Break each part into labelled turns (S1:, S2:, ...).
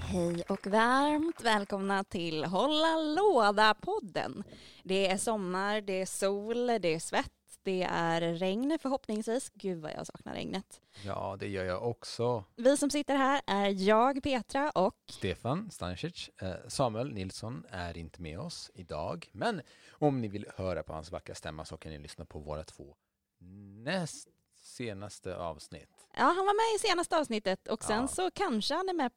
S1: Hej och varmt välkomna till Hålla Låda-podden. Det är sommar, det är sol, det är svett, det är regn förhoppningsvis. Gud vad jag saknar regnet.
S2: Ja, det gör jag också.
S1: Vi som sitter här är jag, Petra, och
S2: Stefan Stancic, eh, Samuel Nilsson är inte med oss idag, men om ni vill höra på hans vackra stämma så kan ni lyssna på våra två näst senaste avsnitt.
S1: ja, han var med i senaste avsnittet och sen
S2: Ja.
S1: så kanske han är med.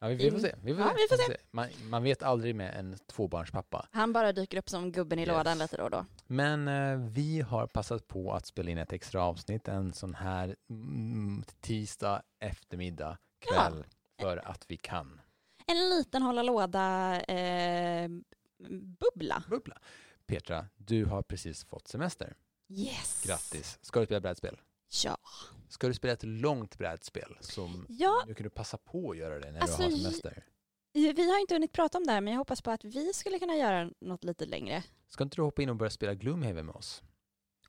S2: Ja, vi, vi får se. Vi får
S1: Ja,
S2: se.
S1: vi får se.
S2: Man, man vet aldrig med en tvåbarnspappa.
S1: Han bara dyker upp som gubben i
S2: Yes.
S1: lådan lite då och då.
S2: Men eh, vi har passat på att spela in ett extra avsnitt en sån här mm, tisdag eftermiddag kväll för att vi kan.
S1: En liten Hålla eh, Låda-bubbla.
S2: Bubbla. Petra, du har precis fått semester.
S1: yes!
S2: Grattis. Ska du spela brädspel?
S1: Ja.
S2: Ska du spela ett långt brädspel som
S1: ja,
S2: nu kan du passa på att göra det när
S1: Alltså,
S2: du har
S1: j-
S2: semester?
S1: vi har inte hunnit prata om det här men jag hoppas på att vi skulle kunna göra något lite längre.
S2: Ska inte du hoppa in och börja spela Gloomhaven med oss?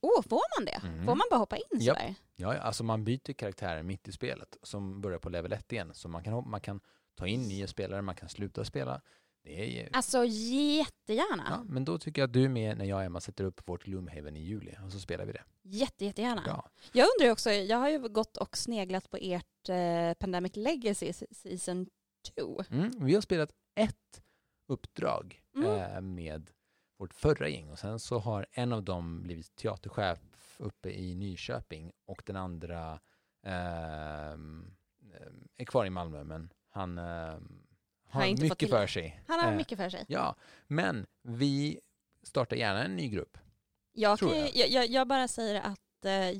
S1: Åh, får man det?
S2: Mm.
S1: Får man bara hoppa in
S2: Japp.
S1: sådär?
S2: Ja, ja, alltså man byter karaktärer mitt i spelet som börjar på level 1 igen. Så man kan, hop- man kan ta in nya spelare, man kan sluta spela. Det är,
S1: Alltså jättegärna.
S2: ja, men då tycker jag att du är med när jag och Emma sätter upp vårt Gloomhaven i juli och så spelar vi det.
S1: Jätte, jättegärna.
S2: Ja.
S1: Jag undrar ju också, jag har ju gått och sneglat på ert eh, Pandemic Legacy s- Season 2.
S2: Mm, vi har spelat ett uppdrag
S1: Mm.
S2: eh, med vårt förra gäng och sen så har en av dem blivit teaterchef uppe i Nyköping och den andra ehm, ehm, är kvar i Malmö men han ehm,
S1: Har
S2: har
S1: inte fått
S2: mycket
S1: till-
S2: för sig.
S1: Han har
S2: Eh,
S1: mycket för sig.
S2: Ja, men vi startar gärna en ny grupp.
S1: Jag,
S2: tror
S1: kan ju-
S2: jag.
S1: jag, jag, jag bara säger att eh, jag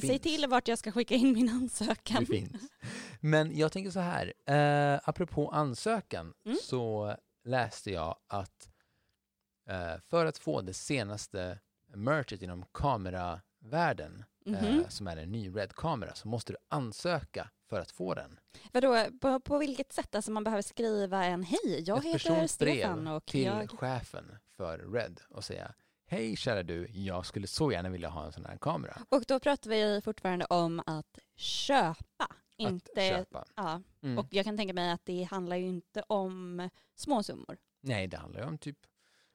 S1: säger
S2: finns.
S1: till vart jag ska skicka in min ansökan.
S2: Det finns. Men jag tänker så här, eh, apropå ansökan
S1: Mm.
S2: så läste jag att eh, för att få det senaste merchet inom kameravärlden, eh,
S1: Mhm.
S2: som är en ny RED-kamera, så måste du ansöka för att få den.
S1: Vadå, på, på vilket sätt? Alltså man behöver skriva en hej, jag
S2: Ett
S1: heter
S2: persons brev
S1: Stefan och
S2: Till
S1: jag...
S2: chefen för RED och säga Hej kära du, jag skulle så gärna vilja ha en sån här kamera.
S1: Och då pratar vi fortfarande om att köpa, inte...
S2: Att köpa.
S1: Ja.
S2: Mm.
S1: Och jag kan tänka mig att det handlar ju inte om små summor.
S2: Nej, det handlar ju om typ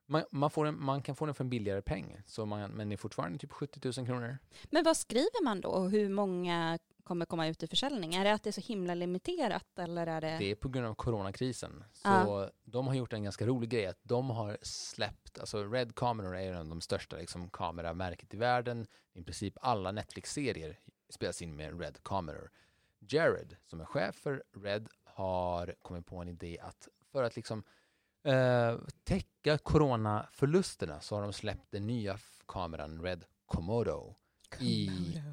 S2: man, man, får en, man kan få den för en billigare peng, så man, men det är fortfarande typ 70 000 kronor.
S1: Men vad skriver man då och hur många kommer komma ut i försäljning? Är det att det är så himla limiterat eller är det...
S2: Det är på grund av coronakrisen. Så
S1: Ja.
S2: de har gjort en ganska rolig grej att de har släppt, alltså Red kameror är en av de största liksom, kameramärket i världen. I princip alla Netflix-serier spelas in med Red kameror. Jared, som är chef för Red, har kommit på en idé att för att liksom eh, täcka coronaförlusterna så har de släppt den nya f- kameran Red Komodo i,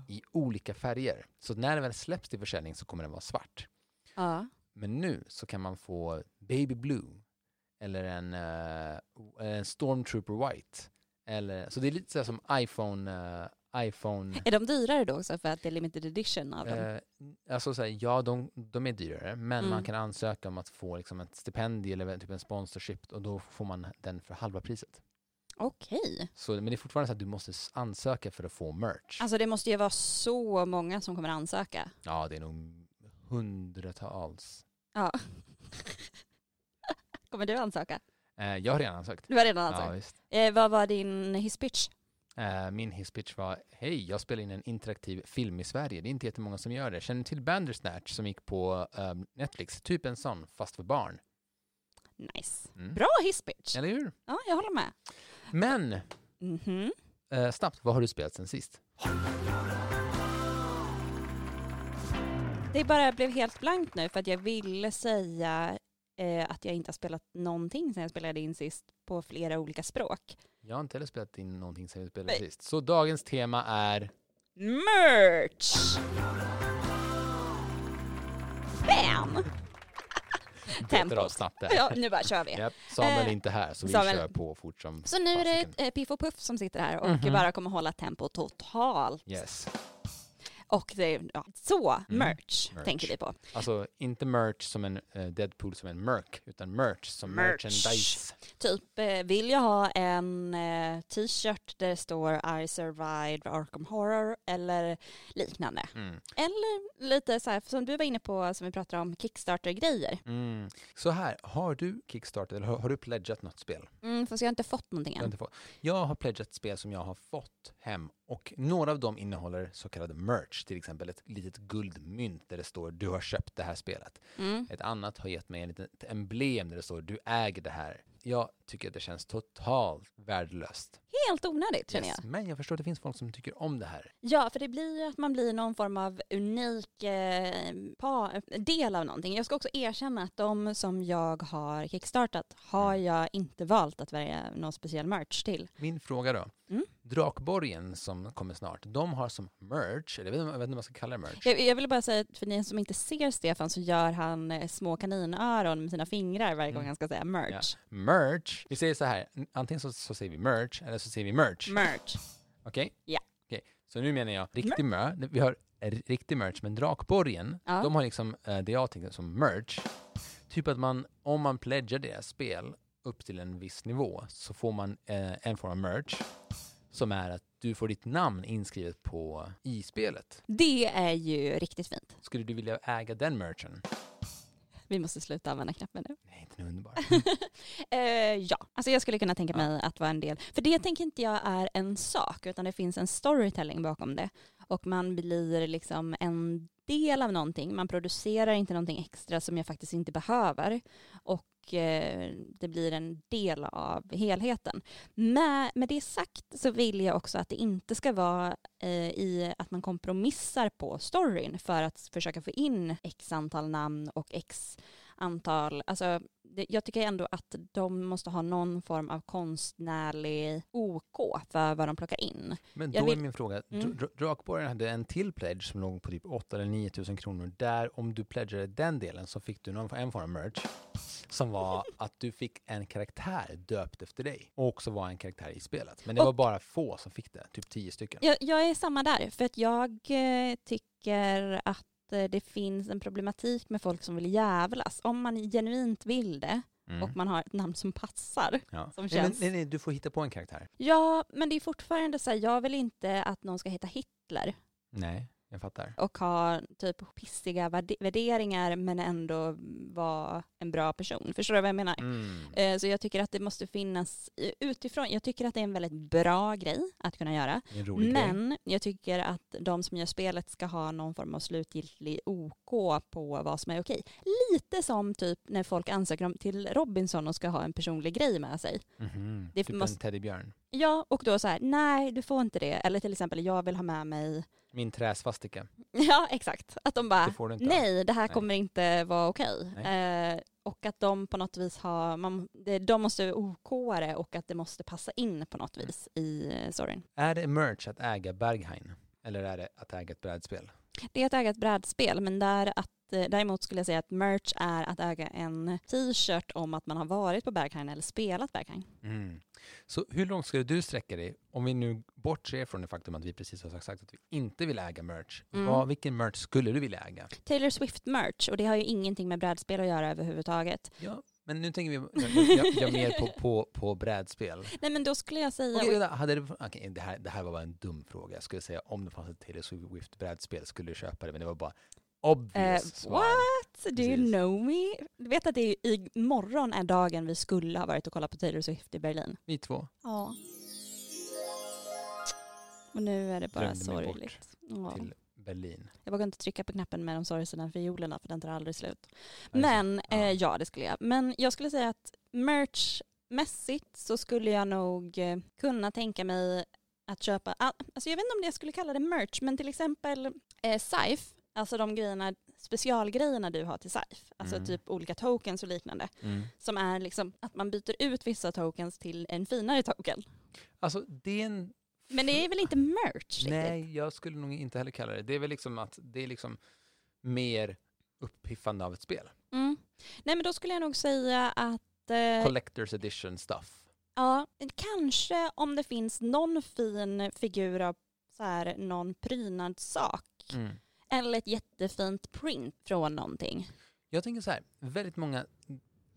S2: i olika färger. Så när den väl släpps till försäljning så kommer den vara svart.
S1: Ja.
S2: Men nu så kan man få Baby Blue eller en, eh, o- en Stormtrooper White. Eller, så det är lite så här som iPhone, eh, iPhone
S1: Är de dyrare då också för att det är limited edition av dem?
S2: eh, alltså så här, ja de, de är dyrare men
S1: Mm.
S2: man kan ansöka om att få liksom ett stipendium eller typ en sponsorship och då får man den för halva priset.
S1: Okej.
S2: Så, men det är fortfarande så att du måste s- ansöka för att få merch.
S1: Alltså det måste ju vara så många som kommer ansöka.
S2: ja, det är nog hundratals.
S1: Ja. kommer du ansöka?
S2: Eh, jag har redan ansökt.
S1: Du har redan
S2: Ja,
S1: ansökt.
S2: visst.
S1: Eh, vad var din hisspitch?
S2: Eh, min hisspitch var, hej, jag spelar in en interaktiv film i Sverige. Det är inte jättemånga som gör det. Känner ni till Bandersnatch som gick på eh, Netflix? Typ en sån, fast för barn.
S1: Nice.
S2: Mm.
S1: Bra hisspitch.
S2: Eller hur?
S1: Ja, jag håller med.
S2: Men,
S1: Mhm.
S2: eh, snabbt, vad har du spelat sen sist?
S1: Det bara blev helt blankt nu för att jag ville säga eh, att jag inte har spelat någonting sen jag spelade in sist på flera olika språk.
S2: Jag har inte heller spelat in någonting sen vi spelade
S1: Nej.
S2: sist. Så dagens tema är...
S1: Merch! Bam!
S2: Betar av
S1: Tempot.
S2: snabbt där.
S1: Ja, nu bara kör vi.
S2: Japp, Samuel är
S1: Eh,
S2: inte här så vi
S1: Samuel.
S2: kör på fort som
S1: Så nu är det
S2: fasiken.
S1: eh, Piff och Puff som sitter här och
S2: Mhm.
S1: bara kommer hålla tempo totalt.
S2: Yes.
S1: Och det, ja. Så,
S2: Mm.
S1: merch,
S2: Merch.
S1: tänker vi på.
S2: Alltså inte merch som en eh, Deadpool som en merk utan merch som
S1: Merch.
S2: merchandise.
S1: Typ, eh, vill jag ha en eh, t-shirt där det står I survived Arkham Horror eller liknande.
S2: Mm.
S1: Eller lite så här, som du var inne på, som vi pratade om, Kickstarter-grejer.
S2: Mm. Så här, har du Kickstarter eller har, har du pledgat något spel?
S1: Mm, fast jag har inte fått någonting
S2: Jag har,
S1: än.
S2: inte fått. jag har pledgat spel som jag har fått hem och några av dem innehåller så kallad merch, till exempel ett litet guldmynt där det står du har köpt det här spelet.
S1: Mm.
S2: Ett annat har gett mig en litet emblem där det står du äger det här. Jag tycker att det känns totalt värdelöst.
S1: Helt onödigt, känner jag.
S2: Yes, Men jag förstår att det finns folk som tycker om det här.
S1: Ja, för det blir ju att man blir någon form av unik eh, pa, del av någonting. Jag ska också erkänna att de som jag har kickstartat har
S2: Mm.
S1: jag inte valt att välja någon speciell merch till.
S2: Min fråga då.
S1: Mm.
S2: Drakborgen som kommer snart, de har som merch, eller jag vet inte- jag vet inte om man ska kalla det merch.
S1: Jag, jag vill bara säga, att för ni som inte ser Stefan så gör han eh, små kaninöron med sina fingrar varje gång
S2: Mm.
S1: han ska säga merch.
S2: Merch, vi säger så här, n- antingen så, så säger vi merch eller så säger vi merch.
S1: Merch.
S2: Okej?
S1: Ja.
S2: Okej, så nu menar jag riktig mö. Vi har eh, riktig merch, men Drakborgen,
S1: Ja.
S2: de har liksom eh, det jag tänkte som merch. Typ att man, om man pledgar deras spel upp till en viss nivå så får man eh, en form av merch som är att du får ditt namn inskrivet på i spelet.
S1: Det är ju riktigt fint.
S2: Skulle du vilja äga den merchen?
S1: Vi måste sluta använda knappen nu.
S2: Nej, inte nu underbart.
S1: Eh, ja, alltså jag skulle kunna tänka
S2: Ja.
S1: mig att vara en del. För det tänker inte jag är en sak, utan det finns en storytelling bakom det. Och man blir liksom en del av någonting. Man producerar inte någonting extra som jag faktiskt inte behöver. Och eh, det blir en del av helheten. Men med det sagt så vill jag också att det inte ska vara eh, i att man kompromissar på storyn för att försöka få in x antal namn och x antal, alltså det, jag tycker ändå att de måste ha någon form av konstnärlig OK för vad de plockar in.
S2: Men
S1: Jag
S2: då
S1: vill-
S2: är min fråga,
S1: Mm.
S2: mm. Drakborgen hade en till pledge som låg på typ 8 eller 9 000 kronor. Där om du pledgade den delen så fick du någon, en form av merch som var att du fick en karaktär döpt efter dig och också var en karaktär i spelet. Men det
S1: Och-
S2: var bara få som fick det, typ 10 stycken.
S1: Jag, jag är samma där, för att jag eh, tycker att eh, det finns en problematik med folk som vill jävlas. Om man genuint vill det
S2: Mm.
S1: och man har ett namn som passar.
S2: ja.
S1: som
S2: nej, men,
S1: känns-
S2: nej, nej, du får hitta på en karaktär.
S1: Ja, men det är fortfarande så här, jag vill inte att någon ska heta Hitler
S2: Nej, jag fattar.
S1: och ha typ pissiga värde- värderingar men ändå vara en bra person. Förstår du vad jag menar?
S2: Mm.
S1: Eh, Så jag tycker att det måste finnas eh, utifrån. Jag tycker att det är en väldigt bra grej att kunna göra.
S2: Det är en rolig grej.
S1: Men jag tycker att de som gör spelet ska ha någon form av slutgiltig OK på vad som är okej. Lite som typ när folk ansöker om till Robinson och ska ha en personlig grej med sig.
S2: Mhm.
S1: det
S2: typ en
S1: måste-
S2: teddybjörn.
S1: Ja, och då så här, nej du får inte det. Eller till exempel, jag vill ha med mig,
S2: Min träsvastika.
S1: ja exakt, att de bara,
S2: Det får du inte.
S1: nej det här
S2: Nej.
S1: kommer inte vara okej. Eh, och att de på något vis har, man, det, de måste OK det och att det måste passa in på
S2: Mm.
S1: något vis i eh, storyn.
S2: Är det merch att äga Berghain? Eller är det att äga ett brädspel?
S1: Det är att äga ett brädspel, men där att, eh, däremot skulle jag säga att merch är att äga en t-shirt om att man har varit på Berghain eller spelat Berghain.
S2: Mm. Så hur långt skulle du sträcka dig, om vi nu bortser från det faktum att vi precis har sagt att vi inte vill äga merch.
S1: Mm.
S2: Vad, vilken merch skulle du vilja äga?
S1: Taylor Swift-merch, och det har ju ingenting med brädspel att göra överhuvudtaget.
S2: Ja, men nu tänker vi jag, jag, jag, jag mer på, på, på brädspel.
S1: Nej men då skulle jag säga...
S2: Okej, vänta, hade det, okej, det, här, det här var bara en dum fråga. Jag skulle säga om det fanns ett Taylor Swift-brädspel skulle du köpa det, men det var bara
S1: Eh,
S2: obvious svar.
S1: what? Do you
S2: Precis.
S1: know me? Du vet att det är imorgon är dagen vi skulle ha varit och kollat på Taylor Swift i Berlin.
S2: Vi två.
S1: Ja. Och nu är det bara
S2: Drömde mig bort
S1: sorgligt. Ja.
S2: till Berlin.
S1: Jag vågar inte trycka på knappen med de sorgsna fiolerna för den tar aldrig slut.
S2: Är det
S1: Men
S2: Ja.
S1: ja. Eh, ja, det skulle jag. Men jag skulle säga att merchmässigt så skulle jag nog eh, kunna tänka mig att köpa, all, alltså jag vet inte om det jag skulle kalla det merch, men till exempel eh, SIF, alltså de grejerna, specialgrejerna du har till SIF, alltså
S2: Mm.
S1: typ olika tokens och liknande,
S2: så? Mm.
S1: som är liksom att man byter ut vissa tokens till en finare token.
S2: Alltså, det är en...
S1: Men det är väl inte merch riktigt?
S2: Nej, jag skulle nog inte heller kalla det. Det är väl liksom att det är liksom mer uppiffande av ett spel.
S1: Mm. Nej men då skulle jag nog säga att eh,
S2: Collector's edition stuff.
S1: Ja, kanske om det finns någon fin figur av så här, någon prydnadssak.
S2: Mm.
S1: Eller ett jättefint print från någonting.
S2: Jag tänker så här, väldigt många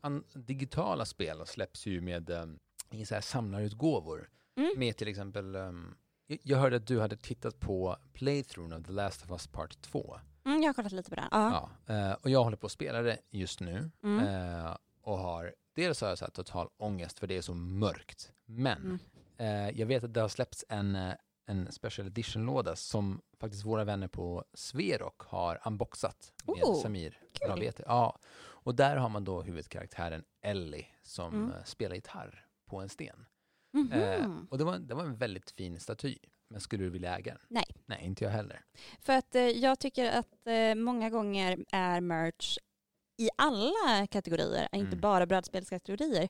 S2: an- digitala spel släpps ju med um, i så här samlarutgåvor.
S1: Mm.
S2: Med till exempel, ehm, jag- jag hörde att du hade tittat på playthrough av The Last of Us Part 2.
S1: Mm, jag har kollat lite på det. här. Ja.
S2: Ja, eh, och jag håller på att spela det just nu.
S1: Mm.
S2: Eh, och har, dels har jag så här total ångest för det är så mörkt. Men
S1: Mm.
S2: eh, jag vet att det har släppts en, eh, en special edition-låda som faktiskt våra vänner på Sverok har unboxat med
S1: Oh,
S2: Samir
S1: kul.
S2: Rabieti. Ja, och där har man då huvudkaraktären Ellie som
S1: Mm.
S2: eh, spelar gitarr på en sten.
S1: Mhm.
S2: Eh, och det var, det var en väldigt fin staty. Men skulle du vilja äga den?
S1: Nej.
S2: Nej, inte jag heller.
S1: För att eh, jag tycker att eh, många gånger är merch i alla kategorier, inte
S2: Mm.
S1: bara brädspelskategorier,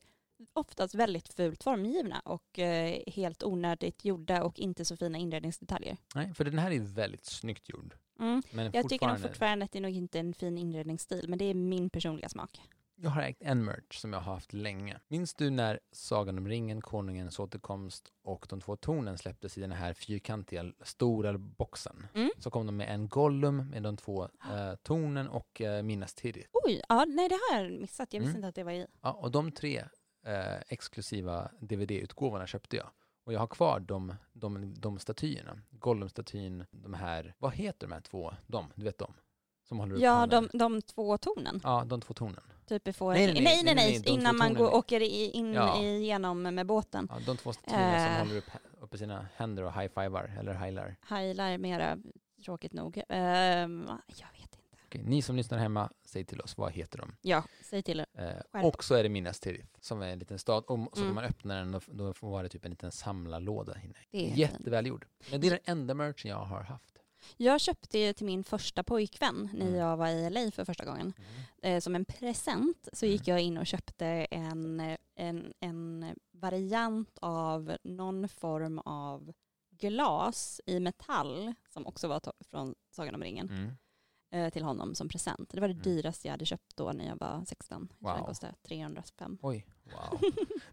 S1: oftast väldigt fult formgivna och eh, helt onödigt gjorda och inte så fina inredningsdetaljer.
S2: Nej, för den här är väldigt snyggt gjord.
S1: Mm.
S2: Men
S1: Jag tycker nog
S2: fortfarande-
S1: fortfarande att det nog inte är en fin inredningsstil, men det är min personliga smak.
S2: Jag har ägt en merch som jag har haft länge. Minns du när Sagan om ringen, Konungens återkomst och De två tornen släpptes i den här fyrkantiga stora boxen?
S1: Mm.
S2: Så kom de med en Gollum med de två eh, tornen och eh, Minas Tirith.
S1: Oj, ja, nej det har jag missat. Jag visste
S2: Mm.
S1: inte att det var i.
S2: Ja, och de tre eh, exklusiva DVD-utgåvorna köpte jag. Och jag har kvar de, de, de statyerna. Gollum-statyn, de här, vad heter de här två? De, du vet de? Som håller upp
S1: Ja,
S2: handen.
S1: de, de två tornen.
S2: Ja, de två tornen.
S1: Typ får,
S2: Nej, nej, nej,
S1: nej, nej,
S2: nej, nej, de
S1: innan
S2: två
S1: man
S2: tornen.
S1: går, åker i- in
S2: Ja.
S1: igenom med båten.
S2: Ja, de två statyerna
S1: Eh.
S2: som håller upp, uppe sina händer och high-fivar, eller heilar.
S1: Heilar mera, tråkigt nog. Ehm, jag vet inte.
S2: Okej, ni som lyssnar hemma, säg till oss, vad heter de?
S1: Ja, säg till.
S2: Eh,
S1: Skärp.
S2: och så är det Minas Tirith, som är en liten stad. Och så
S1: Mm.
S2: om man öppnar den, då, då får- var det typ en liten samlarlåda inne.
S1: Det är fint.
S2: Jättevälgjord. Men det är den enda merchen jag har haft.
S1: Jag köpte ju till min första pojkvän när
S2: Mm.
S1: jag var i LA för första gången. Eh, som en present så gick
S2: Mm.
S1: jag in och köpte en, eh, en, en variant av någon form av glas i metall som också var to- från Sagan om ringen
S2: Mm.
S1: eh, till honom som present. Det var det
S2: Mm.
S1: dyraste jag hade köpt då när jag var 16. Jag tror
S2: Wow.
S1: Det kostade 305.
S2: Oj, wow.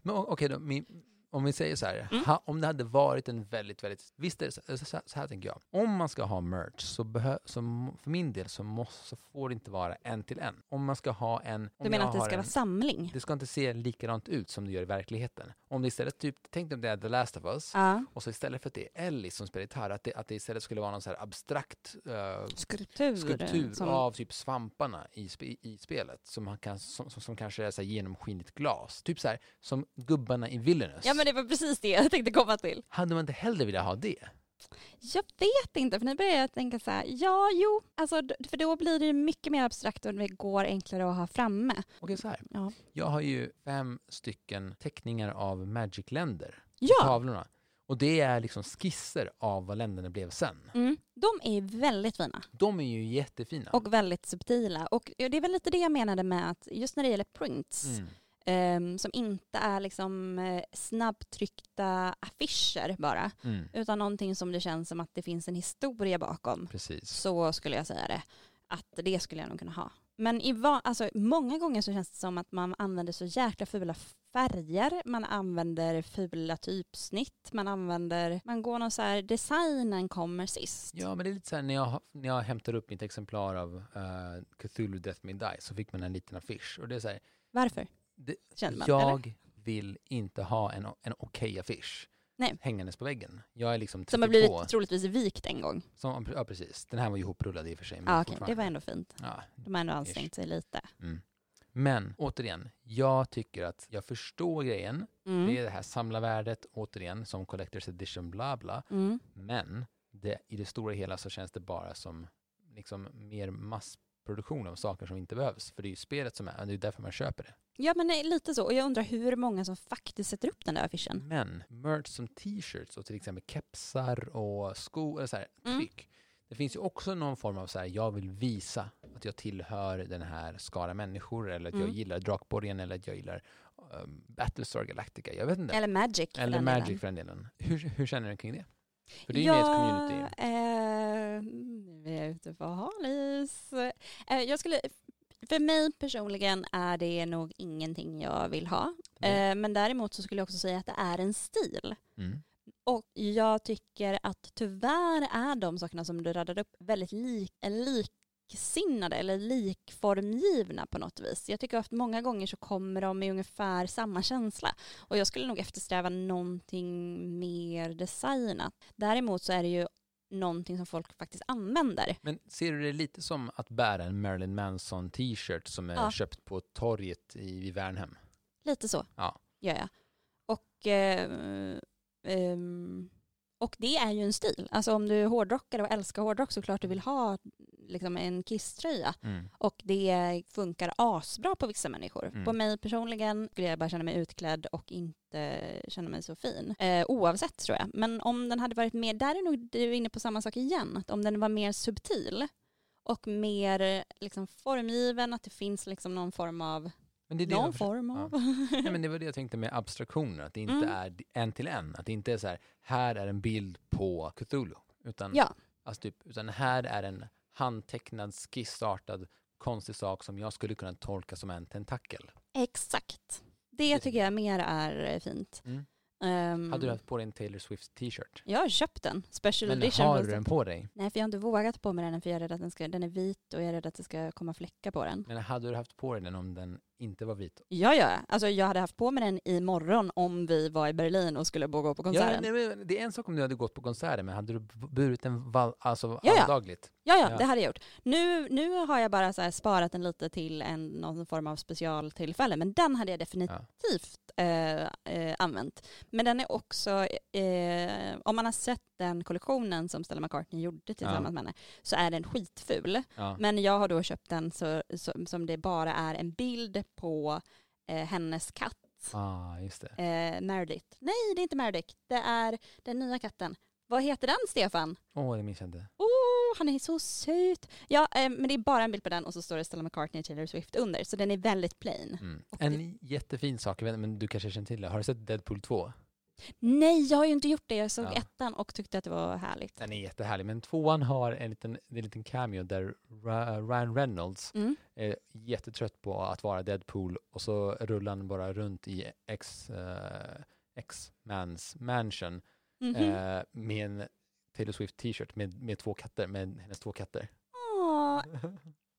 S2: Men o- okej då, min, om vi säger så här,
S1: Mm.
S2: ha, om det hade varit en väldigt, väldigt, visst är det så, så, så här tänker jag, om man ska ha merch så, behö, så m- för min del så, måste, så får det inte vara en till en. Om man ska ha en... Om
S1: Du menar
S2: jag
S1: att det
S2: har
S1: ska
S2: en,
S1: vara samling?
S2: Det ska inte se likadant ut som det gör i verkligheten. Om det istället, typ, tänk dig om det är The Last of Us,
S1: Ja.
S2: och så istället för att det är Ellie som spelar gitarr, att det, att det istället skulle vara någon så här abstrakt eh,
S1: Skulptur.
S2: skulptur
S1: som,
S2: av typ svamparna i, spe, i spelet, som, man kan, som, som, som kanske är så här genomskinligt glas. Typ så här, som gubbarna i Villainous.
S1: Ja men det var precis det jag tänkte komma till.
S2: Hade man inte hellre velat ha det?
S1: Jag vet inte, för nu börjar jag tänka så här, ja jo, alltså, d- för då blir det ju mycket mer abstrakt och det går enklare att ha framme.
S2: Okej, så här.
S1: Ja.
S2: Jag har ju fem stycken teckningar av Magic-länder på
S1: Ja,
S2: tavlorna. Och det är liksom skisser av vad länderna blev sen.
S1: mm, de är väldigt fina
S2: De är ju jättefina.
S1: och väldigt subtila. Och det är väl lite det jag menade med att just när det gäller prints,
S2: Mm.
S1: ehm, som inte är liksom eh, snabbtryckta affischer bara,
S2: Mm.
S1: utan någonting som det känns som att det finns en historia bakom,
S2: Precis.
S1: så skulle jag säga det. Att det skulle jag nog kunna ha. Men i va- alltså, många gånger så känns det som att man använder så jäkla fula färger, man använder fula typsnitt, man använder, man går någon så här, designen kommer sist.
S2: Ja, men det är lite så här när jag, när jag hämtar upp mitt exemplar av eh, Cthulhu Death May Die så fick man en liten affisch. Och det är så här,
S1: Varför?
S2: Det-
S1: Känner man, eller?
S2: jag vill inte ha en, o- en okej affisch
S1: Nej.
S2: hängandes på väggen. Jag är liksom 32.
S1: Som har blivit troligtvis vikt en gång.
S2: Som, ja, precis. Den här var ju hoprullad i och för sig. men
S1: Ja, okej, det
S2: Mm, fortfarande.
S1: var ändå fint.
S2: Ja,
S1: De har ändå ansträngt sig lite.
S2: mm. Men återigen, jag tycker att jag förstår grejen. Det är
S1: Mm.
S2: det här samlarvärdet, återigen, som Collector's Edition, bla bla.
S1: Mm.
S2: Men det, i det stora hela så känns det bara som liksom mer massproduktion av saker som inte behövs. För det är ju spelet som är, det är därför man köper det.
S1: Ja, men nej, lite så. Och jag undrar hur många som faktiskt sätter upp den där affischen.
S2: Men merch som t-shirts och till exempel kepsar och skor, eller så här,
S1: Mm.
S2: tryck. Det finns ju också någon form av så här, jag vill visa att jag tillhör den här skara människor eller att
S1: Mm.
S2: jag gillar Drakborgen eller att jag gillar um, Battlestar Galactica. Jag vet inte.
S1: Eller Magic. för
S2: Eller
S1: den
S2: Magic
S1: delen.
S2: för den delen. Hur, hur känner du kring det? För det är ju med i ett community.
S1: Eh, nu är jag ute på halis. Eh, jag skulle För mig personligen är det nog ingenting jag vill ha.
S2: Nej.
S1: Eh, men däremot så skulle jag också säga att det är en stil.
S2: Mm.
S1: Och jag tycker att tyvärr är de sakerna som du radade upp väldigt lik, eh, liksinnade eller likformgivna på något vis. Jag tycker att många gånger så kommer de med ungefär samma känsla. Och jag skulle nog eftersträva någonting mer designat. Däremot så är det ju någonting som folk faktiskt använder.
S2: Men ser du det lite som att bära en Marilyn Manson t-shirt som är
S1: Ja.
S2: köpt på torget i, i Värnhem?
S1: Lite så
S2: Ja.
S1: gör jag. Och, eh, ehm, och det är ju en stil. Alltså om du är hårdrockare och älskar hårdrock så klart du vill ha liksom, en kisströja.
S2: Mm.
S1: Och det funkar asbra på vissa människor.
S2: Mm.
S1: På mig personligen skulle jag bara känna mig utklädd och inte känna mig så fin. Eh, oavsett tror jag. Men om den hade varit mer, där är nog du inne på samma sak igen. Att om den var mer subtil och mer eh, liksom, formgiven, att det finns liksom, någon form av...
S2: Men det är det
S1: någon
S2: jag försöker-
S1: form
S2: ja.
S1: av...
S2: Nej, men det var det jag tänkte med abstraktioner, att det inte
S1: Mm.
S2: är en till en. Att det inte är så här, här är en bild på Cthulhu. Utan,
S1: Ja.
S2: alltså typ, utan här är en handtecknad, skissartad, konstig sak som jag skulle kunna tolka som en tentakel.
S1: Exakt.
S2: Det
S1: Det
S2: tycker
S1: tycker jag mer är eh, fint.
S2: Mm.
S1: Ehm,
S2: Hade du haft på dig en Taylor Swift t-shirt?
S1: Jag har köpt den. Special
S2: Men
S1: edition.
S2: har
S1: fast-
S2: du den på dig?
S1: Nej, för jag har inte vågat på mig den än, för jag är rädd att den, ska, den är vit och jag är rädd att det ska komma fläckar på den.
S2: Men hade du haft på dig den om den inte var vit?
S1: Ja, ja. Alltså, jag hade haft på mig den imorgon om vi var i Berlin och skulle gå på
S2: Ja,
S1: konserten. Ja,
S2: nej, men det är en sak om du hade gått på konserter, men hade du b- burit den val, alltså
S1: Ja, ja.
S2: alldagligt?
S1: ja,
S2: ja.
S1: det hade jag gjort. Nu, nu har jag bara så här sparat den lite till en, någon form av specialtillfälle, men den hade jag definitivt
S2: Ja.
S1: aktivt eh, eh, använt. Men den är också, eh, om man har sett den kollektionen som Stella McCartney gjorde tillsammans
S2: Ja.
S1: med henne, så är den skitful.
S2: Ja.
S1: Men jag har då köpt den så, som- som det bara är en bild på eh, hennes katt.
S2: Ah, just det.
S1: Eh, Meredith. Nej, det är inte Meredith. Det är den nya katten. Vad heter den, Stefan?
S2: Åh, oh, det minns jag inte.
S1: Oh, han är så söt. Ja, eh, men det är bara en bild på den och så står det Stella McCartney och Taylor Swift under. Så den är väldigt plain.
S2: Mm.
S1: Och
S2: En jättefin sak, jag vet inte, men du kanske känner till det. Har du sett Deadpool 2?
S1: Nej, jag har ju inte gjort det. Jag såg
S2: Ja.
S1: ettan och tyckte att det var härligt.
S2: Den är jättehärlig, men tvåan har en liten, det är en liten cameo där Ra- Ryan Reynolds
S1: Mm.
S2: är jättetrött på att vara Deadpool och så rullar han bara runt i X, eh, X-Mans mansion
S1: Mhm.
S2: eh, med en Taylor Swift t-shirt med, med två katter, med hennes två katter.
S1: Åh,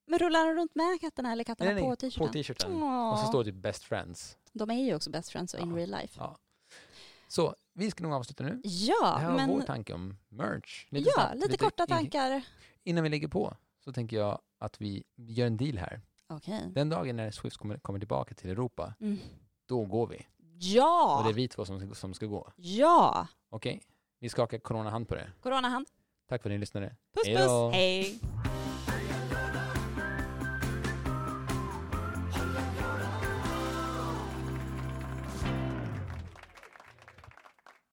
S1: men rullar de runt med katterna eller katterna
S2: Nej, nej,
S1: på
S2: på
S1: t-shirten?
S2: t-shirten. Och så
S1: Åh,
S2: står det typ Best Friends.
S1: de är ju också best friends och in
S2: Ja.
S1: real life.
S2: Ja. Så vi ska nog avsluta nu. det här
S1: Ja,
S2: var vår
S1: men
S2: tanke om merch.
S1: ja,
S2: snabbt,
S1: lite korta
S2: in-
S1: tankar.
S2: Innan vi lägger på så tänker jag att vi gör en deal här.
S1: Okej.
S2: Den dagen när Swift kommer, kommer tillbaka till Europa,
S1: Mm.
S2: då går vi. Och det
S1: Ja,
S2: är vi två som, som ska gå.
S1: ja.
S2: Okej? Vi skakar coronahand på det.
S1: Coronahand.
S2: Tack för att ni lyssnade.
S1: Puss
S2: Hej då.
S1: puss. Hej.